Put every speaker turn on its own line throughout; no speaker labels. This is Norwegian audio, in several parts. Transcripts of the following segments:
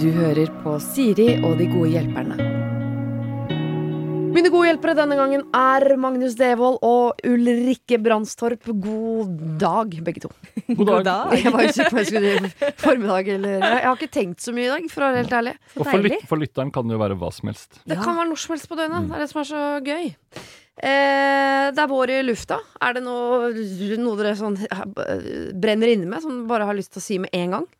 Du hører på Siri og de gode hjelperne. Mine gode hjelpere denne gangen er Magnus Devold og Ulrikke Brandstorp. God dag, begge to.
God dag.
Jeg var usikker på om jeg skulle formiddag eller Jeg har ikke tenkt så mye i dag, for å være helt ærlig.
Og for, lyt for lytteren kan det jo være hva som helst.
Det
Ja. Mm.
kan være når som helst på døgnet. Det er det som er så gøy. Eh, det er vår i lufta. Er det noe, noe dere sånn eh, brenner inne med, som dere bare har lyst til å si med en gang?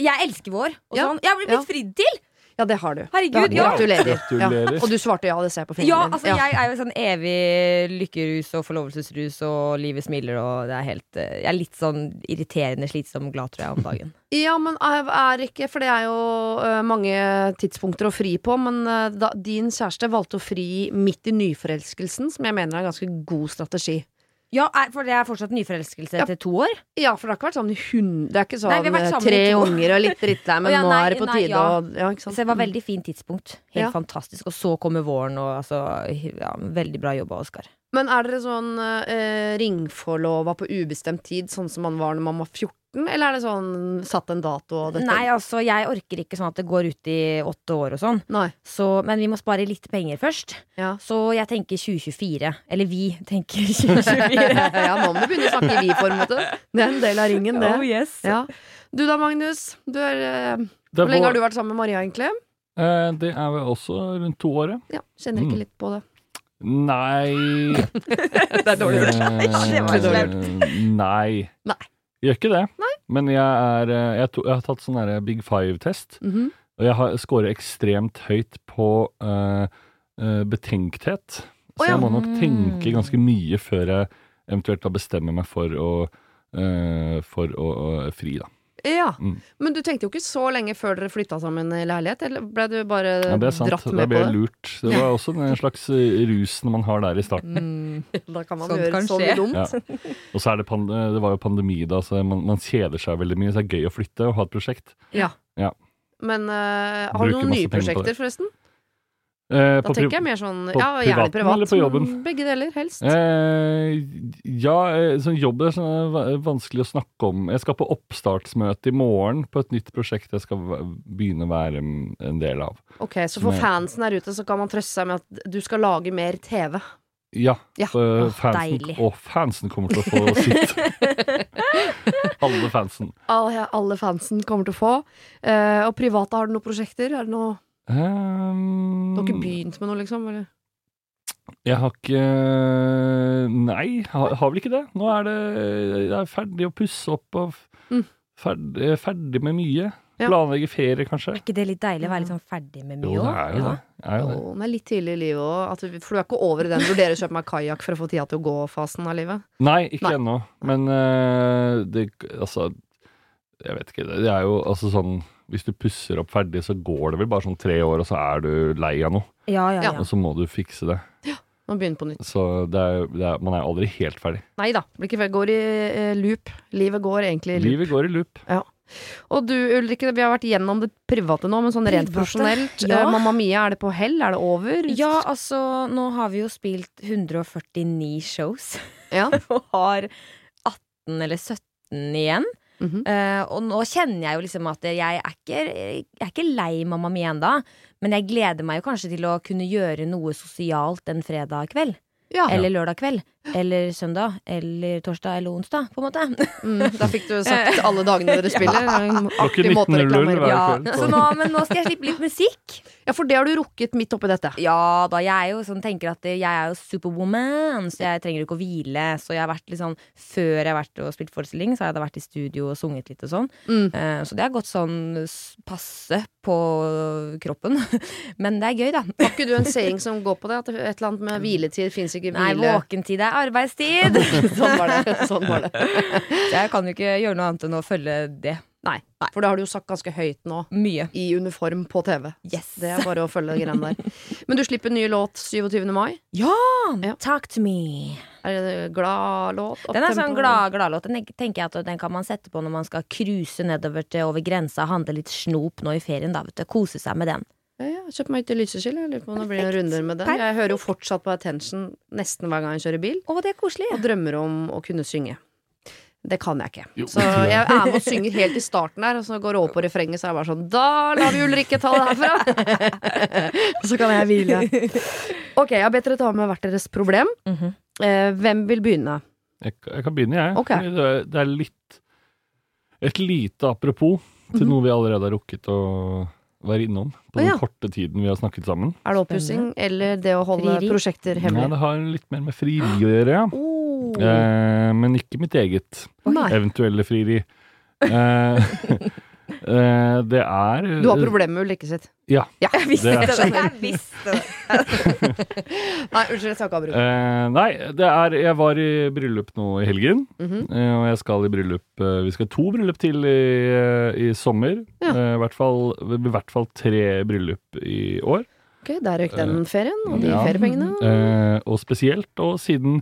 Jeg elsker vår. Og
Ja.
sånn. Jeg blir
Ja.
blitt fridd til!
Ja, det har du. Da-
Herregud, ja.
Gratulerer.
Gratulerer.
Ja. Og du svarte ja, det ser jeg på
Ja,
fingeren din.
altså Jeg er jo sånn evig lykkerus og forlovelsesrus og livet smiler og det er helt eh, Jeg er litt sånn irriterende slitsom og glad, tror jeg, om dagen.
Ja, men er, er ikke For det er jo eh, mange tidspunkter å fri på. Men eh, da, din kjæreste valgte å fri midt i nyforelskelsen, som jeg mener er en ganske god strategi.
Ja, er- for det er fortsatt nyforelskelse
Ja.
etter to år.
Ja, for det har ikke vært sånn hund... Det er ikke sånn
Nei, vi har vært
eh,
sammen i
tre
to år.
unger og litt drittlei, men
Å ja,
nå
nei,
er det på
nei,
tide
ja.
å ja, ikke sant?
Så det var veldig fint tidspunkt. Helt
Ja.
fantastisk. Og så kommer våren, og altså ja, Veldig bra jobba, Oskar.
Men er dere sånn eh, ringforlova på ubestemt tid, sånn som man var når man var 14? Eller er det sånn satt en dato og dette?
Nei, altså, jeg orker ikke sånn at det går ut i åtte år og sånn.
Nei.
Så, men vi må spare litt penger først.
Ja.
Så jeg tenker 2024. Eller vi tenker 2024.
ja, nå må du begynne å snakke i vi-form. vet du. Det er en del av ringen, det.
Oh yes.
Ja. Du da, Magnus. Du er, eh,
Det er
hvor lenge har
vår-
du vært sammen med Maria, egentlig?
Eh, det er vel også rundt to år, ja.
Ja, Kjenner
Mm.
ikke litt på det.
Nei
Det er
Det var
Eh, Nei.
Nei.
Gjør ikke det. Men jeg, er, eh, jeg, to, jeg har tatt sånn derre Big Five-test,
Mhm.
og jeg har scorer ekstremt høyt på eh, eh, betenkthet. Så
Å, ja. Mm.
jeg må nok tenke ganske mye før jeg eventuelt da bestemmer meg for å, eh, for å, å fri, da.
Ja,
Mm.
Men du tenkte jo ikke så lenge før dere flytta sammen i leilighet, eller ble du bare
Ja, det er
eh,
sant.
dratt
Da
med
ble
på
jeg
det?
lurt. Det var også en slags eh, rusen man har der i starten.
Da Mm. Sånn kan man
Sånt
gjøre
kan
så mye
skje.
dumt.
Ja. Og så er det, pan det var jo pandemi da, så man, man kjeder seg veldig mye. Så det er gøy å flytte og ha et prosjekt.
Ja.
Ja.
Men eh, har du
Bruker
noen
masse
nye
penger på det.
prosjekter, forresten?
Eh,
Da tenker jeg mer sånn
på
ja, gjerne
privaten
privat.
eller på jobben?
men Begge deler, helst.
Eh, ja, eh, sånn jobb er sånn va- vanskelig å snakke om. Jeg skal på oppstartsmøte i morgen på et nytt prosjekt jeg skal v- begynne å være en- en del av.
Ok, Så for
Med-
fansen der ute, så kan man trøste seg med at du skal lage mer TV.
Ja.
Ja.
for
Åh,
fansen,
deilig.
og fansen kommer til å få sitt. Alle fansen.
Alle, ja, alle fansen kommer til å få. Eh, og private, har du noen prosjekter? Er det noe,
Um,
du har ikke begynt med noe, liksom? Eller?
Jeg har ikke Nei, har, har vel ikke det. Nå er det jeg er ferdig å pusse opp og
Mm.
ferdig, ferdig med mye.
Ja.
Planlegge ferie, kanskje.
Er ikke det litt deilig å være litt sånn ferdig med mye?
Jo, det
også?
er jo
Ja.
det. Det Er jo det.
Åh, det er litt tidlig i livet òg. at du- For du er ikke over i den 'vurderer å kjøpe meg kajakk for å få tida til å gå'-fasen av livet?
Nei, ikke
Nei.
ennå. Men eh, det Altså, jeg vet ikke. Det er jo altså sånn Hvis du pusser opp ferdig, så går det vel bare sånn tre år, og så er du lei av noe.
Ja, ja,
Ja.
ja.
Og så må du fikse det.
Nå begynner på nytt.
Så det er, det er, man er aldri helt ferdig.
Nei da. Blir ikke feil. Går i eh, loop. Livet går egentlig i loop.
Livet går i loop.
Og du Ulrikke, vi har vært gjennom det private nå, men sånn rent
Private?
profesjonelt.
Ja.
eh, Mamma Mia, er det på hell? Er det over?
ja, altså, nå har vi jo spilt 149 shows
Ja.
og har 18 eller 17 igjen.
Mhm.
Eh, og nå kjenner jeg jo liksom at jeg er ikke, jeg er ikke lei Mamma Mia ennå, men jeg gleder meg jo kanskje til å kunne gjøre noe sosialt en fredag kveld.
ja.
Eller lørdag kveld. Eller søndag. Eller torsdag eller onsdag, på en måte.
Mm, da fikk du sagt alle dagene dere spiller. Det er en Artig
Klokken
måte å
19.00
reklamere
hver
på.
Ja,
kveld, så-
så nå, men nå skal jeg slippe litt musikk.
Ja, for det har du rukket midt oppi dette.
Ja da, jeg er jo sånn, tenker at jeg er jo superwoman, så jeg trenger jo ikke å hvile. Så jeg har vært litt sånn, før jeg har vært og spilt forestilling, så har jeg da vært i studio og sunget litt og sånn.
Mm.
Eh, Så det har gått sånn s- passe på kroppen. Men det er gøy, da.
Har ikke du en saying som går på det? At et eller annet med hviletid fins ikke
Nei,
hvile...
våkentid er arbeidstid!
sånn var det. Sånn var det.
Så jeg kan jo ikke gjøre noe annet enn å følge det.
Nei, for det har du jo sagt ganske høyt nå.
Mye.
I uniform på TV.
Yes.
Det er bare å følge de greiene der. Men du slipper ny låt 27. mai.
Ja!
Ja.
Talk to me.
Er det en glad låt?
Den er sånn
Opptempo?
glad, gladlåt. Den tenker jeg at den kan man sette på når man skal cruise nedover til over grensa, handle litt snop nå i ferien, da, vet du. Kose seg med den.
Ja, ja. Kjøp meg ut til lyseskille. Jeg lurer på om det blir noen
Perfekt.
runder med den. Jeg hører jo fortsatt på Attention nesten hver gang jeg kjører bil.
Å, det er koselig.
og drømmer om å kunne synge. Det kan jeg ikke.
Jo.
Så jeg er med og synger helt i starten der, og så går det over på refrenget, så er jeg bare sånn Da lar vi Ulrikke ta det herfra! så kan jeg hvile. Ok, jeg har bedt dere ta med hvert deres problem.
Mhm.
Eh, hvem vil begynne?
Jeg, jeg kan begynne, jeg.
Ok.
Fordi Det, er- det er litt Et lite apropos til noe vi allerede har rukket å være innom på
Mhm. Å,
den
ja.
korte tiden vi har snakket sammen.
Er det oppussing eller det å holde
Frieri.
prosjekter
Nei,
hemmelig?
det har litt mer med frieri å gjøre, ja.
Oh.
Eh, men ikke mitt eget
Nei.
eventuelle frieri. Eh, eh, det er
Du har problemer med Ulrikke sitt?
Ja.
Jeg visste
Det-
det! Jeg visste det.
Nei, unnskyld, jeg skal ikke avbryte.
Eh, nei, det er Jeg var i bryllup nå i helgen.
Mhm.
eh, og jeg skal i bryllup eh, Vi skal to bryllup til i, eh, i sommer.
Ja.
Eh, i, hvert fall, I hvert fall tre bryllup i år.
Ok, der røyk den ferien og de
eh, ja.
feriepengene.
Eh, og spesielt og siden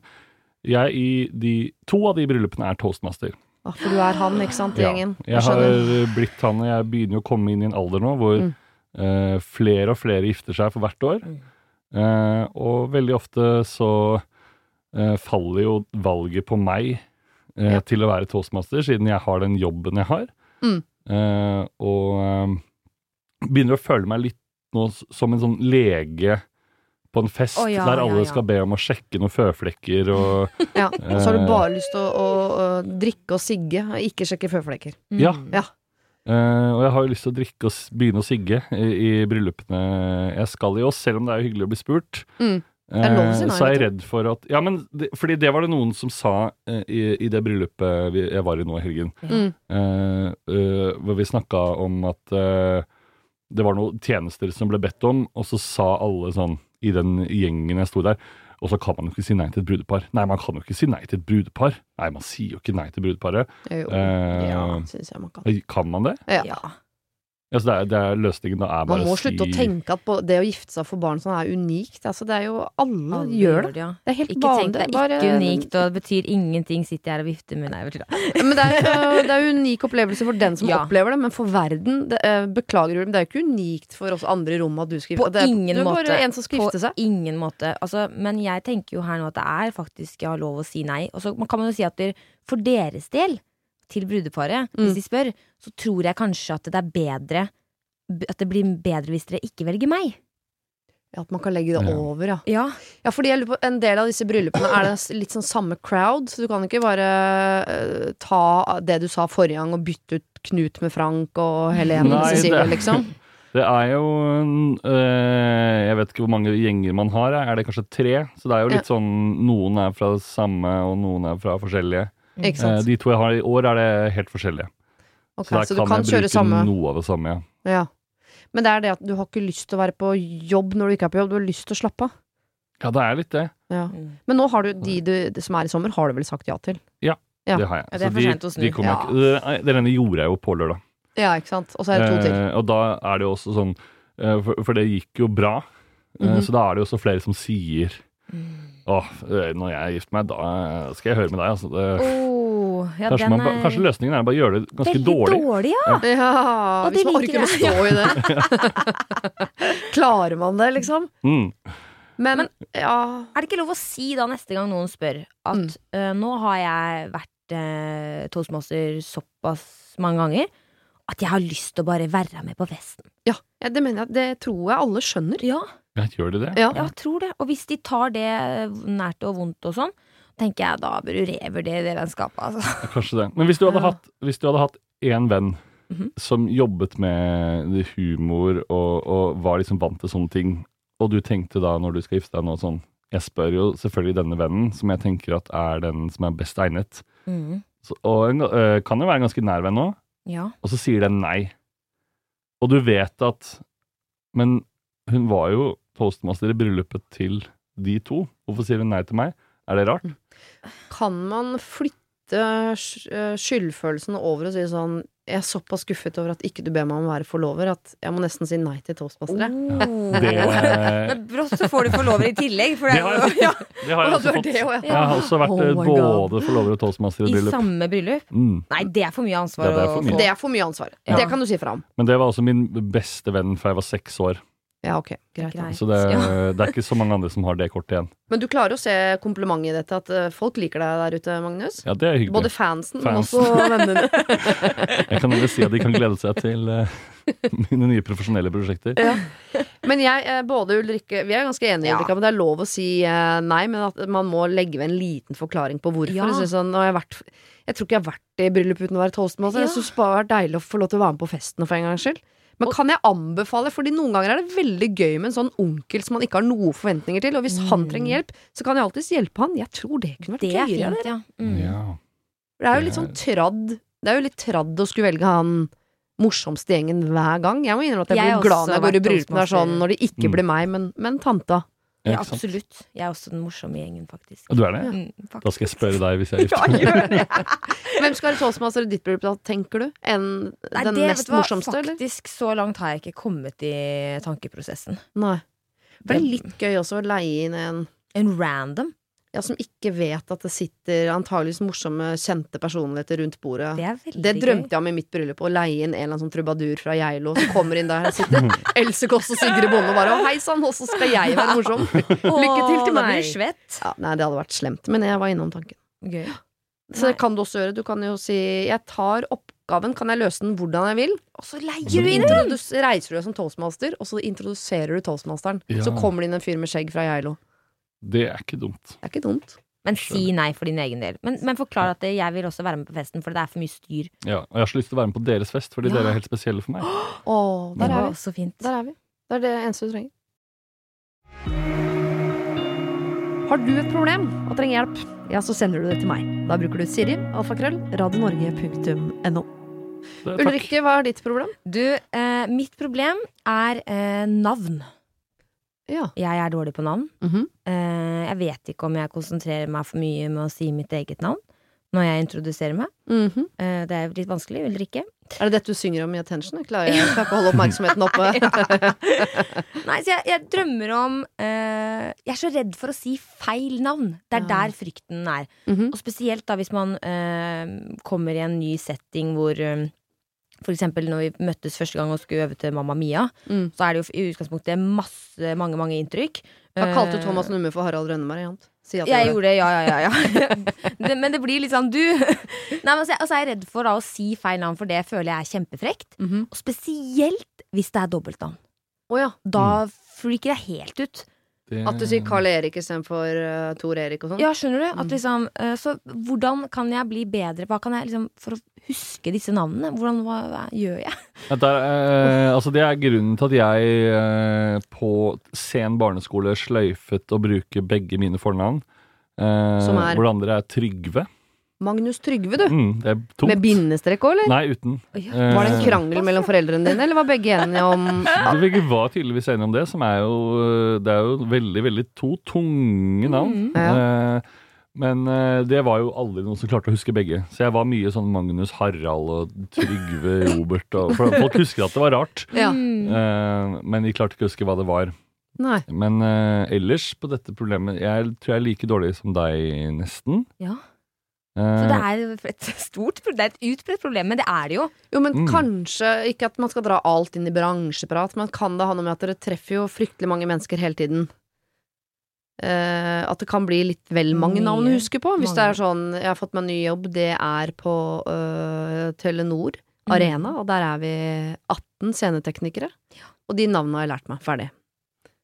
jeg i de To av de bryllupene er toastmaster.
Ah, for du er han, ikke sant, i gjengen?
Jeg har eh,
skjønner.
blitt han, og jeg begynner jo å komme inn i en alder nå hvor
Mm.
eh, flere og flere gifter seg for hvert år. Eh, og veldig ofte så eh, faller jo valget på meg eh,
Ja.
til å være toastmaster, siden jeg har den jobben jeg har.
Mm.
Eh, og eh, begynner å føle meg litt nå s- som en sånn lege på en fest
Å, ja,
der alle
ja, ja.
skal be om å sjekke noen føflekker og
Ja. Og så har du bare lyst til å, å, å drikke og sigge, og ikke sjekke føflekker.
Ja.
Ja.
Eh, og jeg har jo lyst til å drikke og s- begynne å sigge i, i bryllupene jeg skal i, og selv om det er jo hyggelig å bli spurt,
Mm. Det er lov å si
Eh,
nei,
Så er jeg
vet
redd for at Ja, men det, fordi det var det noen som sa eh, i, i det bryllupet vi, jeg var i nå i helgen,
Mm.
eh, eh, hvor vi snakka om at eh, det var noen tjenester som ble bedt om, og så sa alle sånn i den gjengen jeg sto der og så kan man jo ikke si nei til et brudepar. Nei, man kan jo ikke si nei til et brudepar. Nei, man sier jo ikke nei til brudeparet.
Jo,
Eh,
ja, syns jeg man kan.
Kan man det?
Ja.
Ja.
Altså, det er, det er løsningen da er
Man
bare
må
å si
slutte å tenke at på det å gifte seg for barn sånn er unikt. Altså, det er jo Alle
Alle
gjør det.
ja.
Det er helt
Ikke tenk, det
vanlig.
er
Bare-
ikke unikt, og det betyr ingenting. Sitter jeg her og vifter med Nei, jeg vet ikke.
Men det er, øh, det er jo en unik opplevelse for den som
Ja.
opplever det, men for verden det, øh, Beklager, Ulrim, det er jo ikke unikt for oss andre i rommet at du skal
På
gifte deg. Det er-
ingen
Du er
måte.
bare en som skal
På
gifte seg.
ingen måte. Altså, men jeg tenker jo her nå at det er faktisk jeg har lov å si nei. Og så man kan man jo si at der, for deres del, til brudeparet,
Mm.
hvis de spør, så tror jeg kanskje at det er bedre At det blir bedre hvis dere ikke velger meg.
Ja, at man kan legge det
Ja.
over, ja.
Ja.
Ja, fordi jeg lurer på, En del av disse bryllupene er det s- litt sånn samme crowd, så du kan ikke bare øh, ta det du sa forrige gang og bytte ut Knut med Frank og Helene og
Nei,
Cecilie,
det-
liksom.
Det er jo en, eh, Jeg vet ikke hvor mange gjenger man har. Er det kanskje tre? Så det er jo litt sånn noen er fra det samme, og noen er fra forskjellige.
Ikke
Eh,
sant?
de to jeg har i år, er det helt forskjellige.
Ok,
så der
så du
kan,
kan
jeg
kjøre
bruke
samme
noe av det samme. Ja.
Ja. Men det er det at du har ikke lyst til å være på jobb når du ikke er på jobb, du har lyst til å slappe av.
ja, det er litt det.
Ja.
Mm.
Men nå har du de du, de som er i sommer, har du vel sagt ja til? Ja.
Det har jeg.
Ja, det er
Så
for
de-
sent å snu.
de kommer
Ja.
ikke- det- nei, Den ene gjorde jeg jo på lørdag.
Ja, ikke sant. Og så er det to til.
Eh, og da er det jo også sånn eh, for, for det gikk jo bra. Eh,
Mhm.
Så da er det jo også flere som sier Åh, eh, når jeg gifter meg, da skal jeg høre med deg, altså. Det,
Oh, ja,
kanskje,
den
man, ba-
er
kanskje løsningen er bare å gjøre det ganske
veldig
dårlig.
dårlig ja.
Ja,
Og
hvis
det
man
liker
orker å stå i det. Klarer man det, liksom?
Mm.
Men, ja
Er det ikke lov å si da neste gang noen spør at
Mm.
eh, nå har jeg vært uh, toastmaster såpass mange ganger at jeg har lyst til å bare være med på festen?
ja, ja, det mener jeg. Det tror jeg alle skjønner.
Ja,
Ja, gjør de det?
Ja.
jeg tror det. Og hvis de tar det nært og vondt og sånn, tenker jeg da bør du revurdere det vennskapet, altså.
Kanskje det. Men hvis du hadde
Ja.
hatt, hvis du hadde hatt én venn
Mhm.
som jobbet med humor og, og var liksom vant til sånne ting, og du tenkte da når du skal gifte deg nå sånn Jeg spør jo selvfølgelig denne vennen, som jeg tenker at er den som er best egnet. Så, og en, øh, kan jo være en ganske nær venn òg.
Mm. Ja.
Og så sier den nei. Og du vet at Men hun var jo toastmaster i bryllupet til de to. Hvorfor sier hun nei til meg? Er det rart?
Kan man flytte sk- eh, skyldfølelsen over og si sånn Jeg er såpass skuffet over at ikke du ber meg om å være forlover, at jeg må nesten si nei til toastmastere.
Oh.
Det, det
Men brått så får du forlover i tillegg. For det,
Det har jeg-
ja,
har
Å, du
jeg også
er
fått.
det også,
Jeg har også vært
Oh
eh,
my God.
både forlover og toastmaster i
I
bryllup.
samme bryllup?
Mm.
Nei, det er for mye ansvar.
Ja, det er for
å
mye.
få.
Det er for mye ansvar.
Ja.
Det kan du si fra om.
Men det var også min beste venn fra jeg var seks år.
Ja, ok, greit da.
Greit.
Så det, det er ikke så mange andre som har det kortet igjen.
Men du klarer å se komplimentet i dette, at eh, folk liker deg der ute, Magnus.
Ja, det er
Både
hyggelig.
fansen,
Fansen.
men også vennene.
Jeg kan heller si at de kan glede seg til eh, mine nye profesjonelle prosjekter.
Men jeg, eh, både Ulrikke Vi er ganske enige,
Ja.
Ulrikke, men det er lov å si eh, nei. Men at man må legge ved en liten forklaring på hvorfor.
Ja.
Jeg, synes sånn, nå har jeg, vært, jeg tror ikke jeg har vært i bryllup uten å være toastmaster.
Ja.
Jeg syns bare det har vært deilig å få lov til å være med på festen for en gangs skyld. Men kan jeg anbefale, fordi noen ganger er det veldig gøy med en sånn onkel som man ikke har noen forventninger til, og hvis han trenger hjelp, så kan jeg alltids hjelpe han. Jeg tror det kunne vært
Mm. Det er
gøyere.
fint, ja. Mm.
Ja.
For det er jo
Det
litt sånn
er-
tradd Det er jo litt tradd å skulle velge han morsomste gjengen hver gang. Jeg må innrømme at jeg,
Jeg har
blir glad når jeg
også
går i
vært
bryllup når det er sånn,
toastmaster.
når det ikke
Mm.
blir meg, men, men tanta.
Ja,
Ja,
ikke sant?
absolutt. Jeg er også den morsomme gjengen, faktisk.
Du er det?
Mm, faktisk.
Da skal jeg spørre deg hvis jeg er
Ja,
gift.
gjør det.
Hvem skal være toastmaster i ditt bryllup, da, tenker du? Enn
Nei,
den
det, vet
mest
du hva,
morsomste, eller?
Faktisk, så langt har jeg ikke kommet i tankeprosessen.
Nei. For det er litt gøy også å leie inn en
En random.
ja, som ikke vet at det sitter antageligvis morsomme, kjente personligheter rundt bordet.
Det er veldig
Det drømte jeg om i mitt bryllup, å leie inn en eller annen sånn trubadur fra Geilo som kommer inn der og sitter Else Kåss og Sigrid Bonde og bare Å, hei sann, også skal jeg være morsom.
gøy.
Lykke til til
Åh, Da blir
meg.
du svett.
Ja, nei, det hadde vært slemt, men jeg var innom tanken.
Gøy.
Så det
Nei.
kan du også gjøre. Du kan jo si 'jeg tar oppgaven, kan jeg løse den hvordan jeg vil'?
Og så
Så
leier du inn!
introdus- reiser du deg som toastmaster, og så introduserer du toastmasteren.
Ja.
Så kommer det inn en fyr med skjegg fra Geilo.
Det er ikke dumt.
Det er ikke dumt.
Men si nei for din egen del. Men, men forklar at jeg vil også være med på festen, for det er for mye styr.
Ja, og jeg har så lyst til å være med på deres fest, fordi
Ja.
dere er helt spesielle for meg.
Å, der er
Åh,
vi.
Så fint.
Der er vi. Det er det eneste du trenger. Har du et problem og trenger hjelp, ja, så sender du det til meg. Da bruker du Siri, alfakrøll, radionorge.no.
Det, takk.
Ulrikke, hva er ditt problem?
Du, eh, mitt problem er eh, navn.
Ja.
Jeg er dårlig på navn.
Mhm.
Eh, jeg vet ikke om jeg konsentrerer meg for mye med å si mitt eget navn når jeg introduserer meg.
Mhm.
Eh, det er litt vanskelig, vil dere ikke?
Er det dette du synger om i Attention? Jeg klarer jeg klarer ikke å holde oppmerksomheten oppe.
Nei, så jeg, jeg drømmer om eh, Jeg er så redd for å si feil navn. Det er
Ja.
der frykten er.
Mhm.
Og spesielt da hvis man eh, kommer i en ny setting hvor eh, for eksempel når vi møttes første gang og skulle øve til Mamma Mia,
Mm.
så er det jo i utgangspunktet masse, mange mange inntrykk.
Hva kalte du
Eh,
Thomas Numme for Harald Rønnemariant? Si at det
Jeg
var det.
gjorde det, ja, ja, ja. ja. det, men det blir litt sånn du Nei, men så, altså, jeg er redd for da, å si feil navn, for det føler jeg er kjempefrekt.
Mhm.
Og spesielt hvis det er dobbeltnavn.
Å ja.
Da
Mm.
freaker jeg helt ut.
Det-
At du sier Carl Erik istedenfor uh, Tor Erik og sånn?
Eh. Ja, skjønner du? At liksom, eh, så hvordan kan jeg bli bedre? Hva kan jeg liksom, For å huske disse navnene, hvordan hva, hva gjør jeg?
Ja, der, eh, altså det er grunnen til at jeg eh, på sen barneskole sløyfet å bruke begge mine fornavn. Eh,
Som er?
Hvor det andre er Trygve.
Magnus Trygve, du.
Mm, det er tungt.
Med bindestrek òg, eller?
Nei, uten. Eh,
Var det en krangel mellom foreldrene dine, eller var begge enige om
Så Vi var tydeligvis enige om det, som er jo Det er jo veldig, veldig to tunge navn.
Mm.
Eh, Men eh, det var jo aldri noen som klarte å huske begge. Så jeg var mye sånn Magnus Harald og Trygve Robert og For folk husker at det var rart.
Ja.
Mm.
Eh, Men de klarte ikke å huske hva det var.
Nei.
Men eh, ellers på dette problemet Jeg tror jeg er like dårlig som deg, nesten.
Ja. Så det
Eh,
er jo et stort pro- Det er et utbredt problem, men det er det jo.
Jo, men
Mm.
kanskje ikke at man skal dra alt inn i bransjeprat, men kan det ha noe med at dere treffer jo fryktelig mange mennesker hele tiden? Eh, at det kan bli litt vel mange
Mye.
navn å huske på. Hvis det
Mange.
er sånn Jeg har fått meg en ny jobb, det er på eh, Telenor
Mm.
Arena, og der er vi 18 sceneteknikere. Og de navnene har jeg lært meg. Ferdig.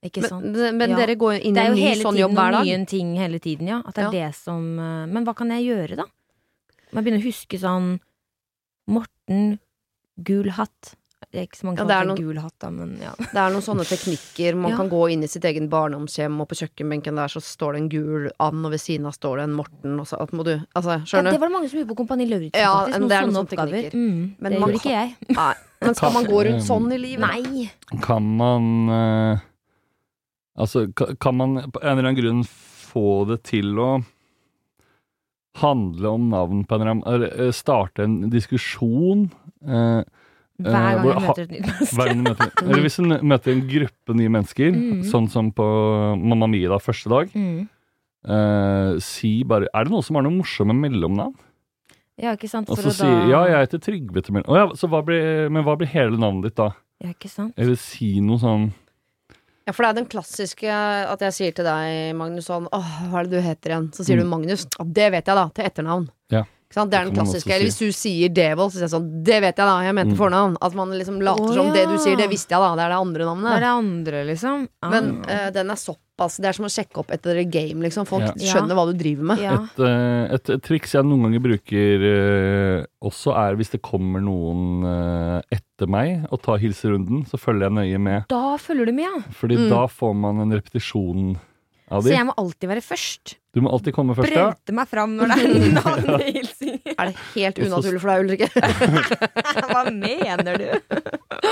Ikke sant?
Men, men
Ja.
dere går inn
Det
i
er
en
jo
ny
hele
sånn
tiden
jobb hver
noen
dag.
nye ting hele tiden, ja. At det er det som eh, Men hva kan jeg gjøre, da? Man begynner å huske sånn Morten, gul hatt. Det er ikke så mange
Ja,
som
det
har
er
noen... gul hatt, da, men ja.
Det er noen sånne teknikker. Man
Ja.
kan gå inn i sitt egen barndomshjem, og på kjøkkenbenken der så står det en gul and, og ved siden av står det en Morten, og så at må du Altså,
ja.
skjønner
Det
du?
var det mange som gjorde på Kompani Lauritzen,
Ja,
faktisk.
men
Noen
det er
sånne
noen sånne
oppgaver.
teknikker.
Mm,
Men
det
man
gjorde ikke jeg.
Nei. Men skal man gå rundt sånn i livet?
Nei.
Kan man eh, Altså, ka- kan man på en eller annen grunn få det til å handle om navn på en eller annen eller, eh, Starte en diskusjon? eh,
Hver gang
hvor
jeg
ha-
møter et nytt menneske.
hver gang du møter, eller hvis du møter en gruppe nye mennesker,
Mm.
sånn som på Mamma Mia da, første dag,
Mm.
eh, si bare Er det noen som har noen morsomme mellomnavn?
Ja, ikke sant?
Og så
For å
si
da-
Ja, jeg heter Trygve til mellom... Å ja, så hva blir, men hva blir hele navnet ditt da?
Ja, ikke sant?
Eller si noe sånn
Ja, for det er den klassiske at jeg sier til deg, Magnus, sånn Åh, hva er det du heter igjen? Så sier du Magnus. «Å, det vet jeg, da. Til etternavn.
Mm. Ja.
Ikke sant? Det er
Det
den
kan man
klassiske.
også
Eller hvis du sier Devold, så sier jeg sånn Det vet jeg, da. Jeg mente
Mm.
fornavn. At man liksom later
Å,
som det du
ja.
sier, det visste jeg, da. Det er det andre
Hva er
navnet.
det andre, liksom? Ah.
Men eh, den er såpass Det er som å sjekke opp etter et game, liksom. Folk
Ja.
skjønner hva du driver med.
ja.
Et, eh, et, et triks jeg noen ganger bruker eh, også, er hvis det kommer noen eh, etter meg og tar hilserunden, så følger jeg nøye med.
Da følger du med, ja.
Fordi
Mm.
da får man en repetisjon av
Så
de.
jeg må alltid være først.
Du må alltid komme først, ja.
Brente meg fram når det er navnehilsing.
Er det helt
Og så-
unaturlig for deg, Ulrikke?
Hva mener du?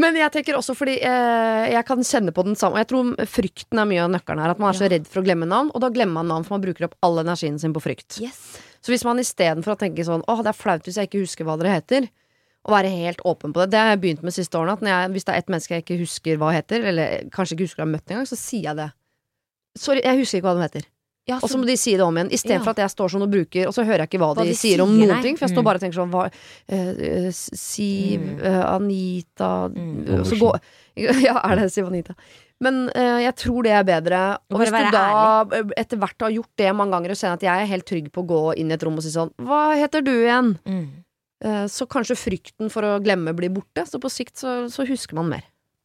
Men jeg tenker også fordi eh, jeg kan kjenne på den samme Og jeg tror frykten er mye av nøkkelen her. At man er så redd for å glemme navn, og da glemmer man navn, for man bruker opp all energien sin på frykt.
Yes.
Så hvis man istedenfor å tenke sånn åh, det er flaut hvis jeg ikke husker hva dere heter, og være helt åpen på det Det har jeg begynt med siste årene. At når jeg, hvis det er ett menneske jeg ikke husker hva heter, eller kanskje ikke husker å ha møtt engang, så sier jeg det. Sorry, jeg husker ikke hva de heter.
Ja,
Og så må de si det om igjen,
Ja.
istedenfor for at jeg står sånn og bruker, og så hører jeg ikke hva,
Hva
de,
de
sier om
sier,
noen
nei.
ting. For jeg
Mm.
står bare og tenker sånn hva, eh, eh, Siv,
Mm.
eh, Anita
Mm.
eh, og så går, Ja, er det Siv Anita? Men eh, jeg tror det er bedre.
Bare
Og hvis du
være
da eh, etter hvert har gjort det mange ganger og kjenner at jeg er helt trygg på å gå inn i et rom og si sånn Hva heter du igjen?
Mm.
Eh, Så kanskje frykten for å glemme blir borte. Så på sikt så, så husker man mer.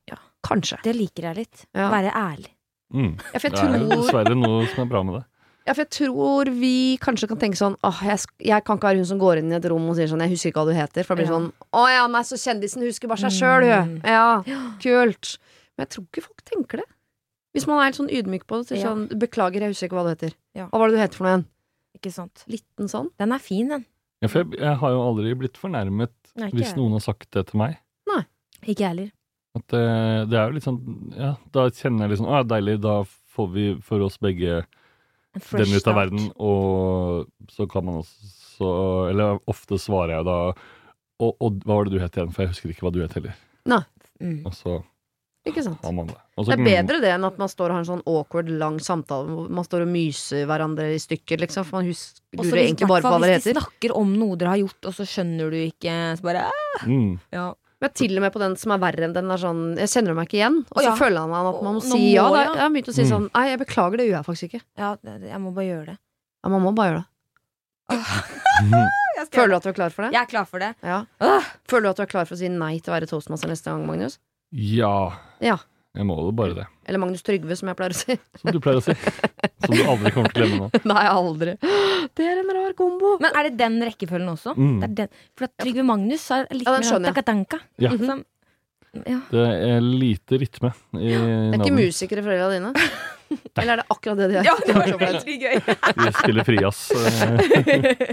Ja.
Kanskje.
Det liker jeg litt.
Ja.
Være ærlig.
Mm.
Ja, for jeg
Det er jo
tror
dessverre noe som er bra med det.
Ja, for jeg tror vi kanskje kan tenke sånn Åh, jeg, sk- jeg kan ikke være hun som går inn i et rom og sier sånn Jeg husker ikke hva du heter. For det blir
Ja.
sånn Å ja, nei, så kjendisen husker bare seg sjøl, hun.
Mm.
Ja, kult. Men jeg tror ikke folk tenker det. Hvis man er helt sånn ydmyk på det. Så er det
Ja.
sånn, Beklager, jeg husker ikke hva du heter.
Ja.
Hva var det du heter for noe igjen?
Ikke sant?
Liten sånn?
Den er fin, den.
Ja, for jeg, jeg har jo aldri blitt fornærmet
Nei, ikke
hvis
jeg.
noen har sagt det til meg.
Ikke jeg heller.
At det, det er jo litt sånn Ja, da kjenner jeg liksom Å, ja, deilig, da får vi for oss begge
En fresh
den ut av
start.
verden, og så kan man også Eller ofte svarer jeg da og, og hva var det du het igjen, for jeg husker ikke hva du het heller.
Mm.
Og så
Ikke sant?
har man det. Og så,
Det er bedre det enn at man står og har en sånn awkward, lang samtale hvor man står og myser hverandre i stykker, liksom. For man husker
Og så
lurer
hvis-
egentlig bare på hva
hvertfall
dere
Hvis de
heter.
snakker om noe dere har gjort, og så skjønner du ikke, så bare "Ah."
Mm,
ja.
Men til og med på den som er verre enn den er sånn Jeg kjenner meg ikke igjen. Og
Å,
så
ja.
føler han at man må
Å, nå
si ja.
må
Da,
jeg.
jeg har begynt å si
Mm.
sånn Nei, jeg beklager, det gjør jeg faktisk ikke.
ja, det- det- jeg må bare gjøre det.
Ja, man må bare gjøre det.
mm,
Jeg skal
Føler du
gjøre
at du er klar for
det.
det?
Jeg er klar for det.
Ja.
Åh.
Føler du at du er klar for å si nei til å være toastmaster neste gang, Magnus?
ja.
Ja.
Jeg må jo bare det.
Eller Magnus Trygve, som jeg pleier å si.
Som du pleier å si. Som du aldri kommer til å glemme nå.
nei, aldri. Det er en rar kombo.
Men er det den rekkefølgen også?
Mm.
Det er den. For at Trygve Magnus har litt
Ja, den
mer
skjønner jeg.
takatanka. Liksom.
Ja.
Som- ja.
Det er lite rytme i
Det er ikke
navnet.
musikere, foreldra dine? Eller er det akkurat det de er?
ja, det var veldig gøy.
Vi spiller frijazz. eh,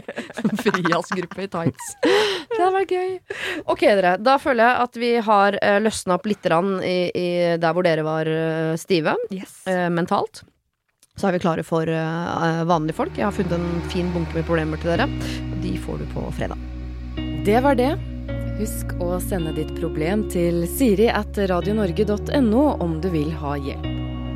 Frijazzgruppe i tights. Det hadde vært gøy. Ok, dere. Da føler jeg at vi har uh, løsna opp litt grann i, i der hvor dere var eh, stive
Yes.
eh, mentalt. Så er vi klare for eh, vanlige folk. Jeg har funnet en fin bunke med problemer til dere. Og de får du på fredag.
Det var det. Husk å sende ditt problem til siri at radionorge.no om du vil ha hjelp.